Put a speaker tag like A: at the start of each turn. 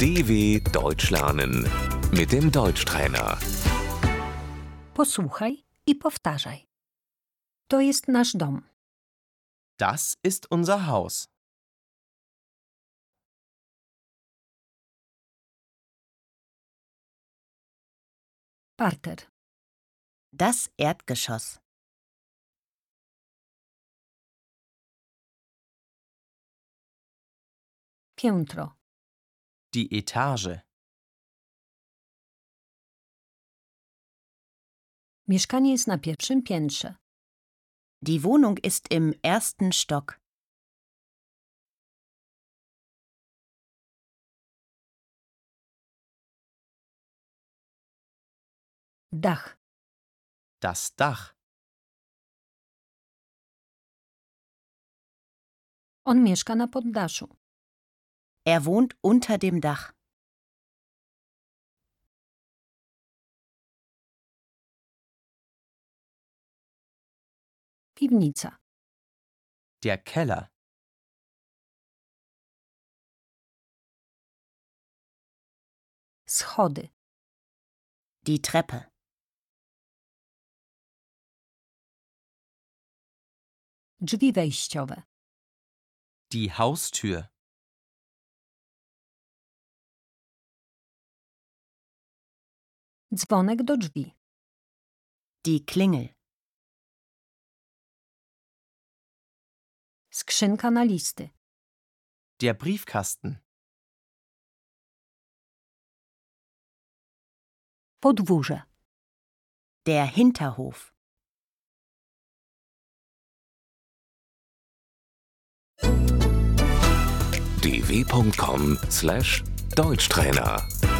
A: DW Deutsch lernen mit dem Deutschtrainer.
B: Posłuchaj i powtarzaj. To jest nasz dom.
C: Das ist unser Haus.
B: Parter,
D: Das Erdgeschoss.
B: piętro,
C: Die Etage.
B: mieszkanie jest na pierwszym piętrze,
D: Die Wohnung ist im ersten Stock.
B: dach,
C: Das Dach.
B: on mieszka na poddaszu,
D: Er wohnt unter dem Dach.
B: piwnica,
C: Der Keller.
B: schody,
D: Die Treppe.
B: drzwi wejściowe,
C: Die Haustür.
B: dzwonek do drzwi,
D: Die Klingel.
B: skrzynka na listy,
C: Der Briefkasten.
B: podwórze,
D: Der Hinterhof.
A: dw.com/deutschtrainer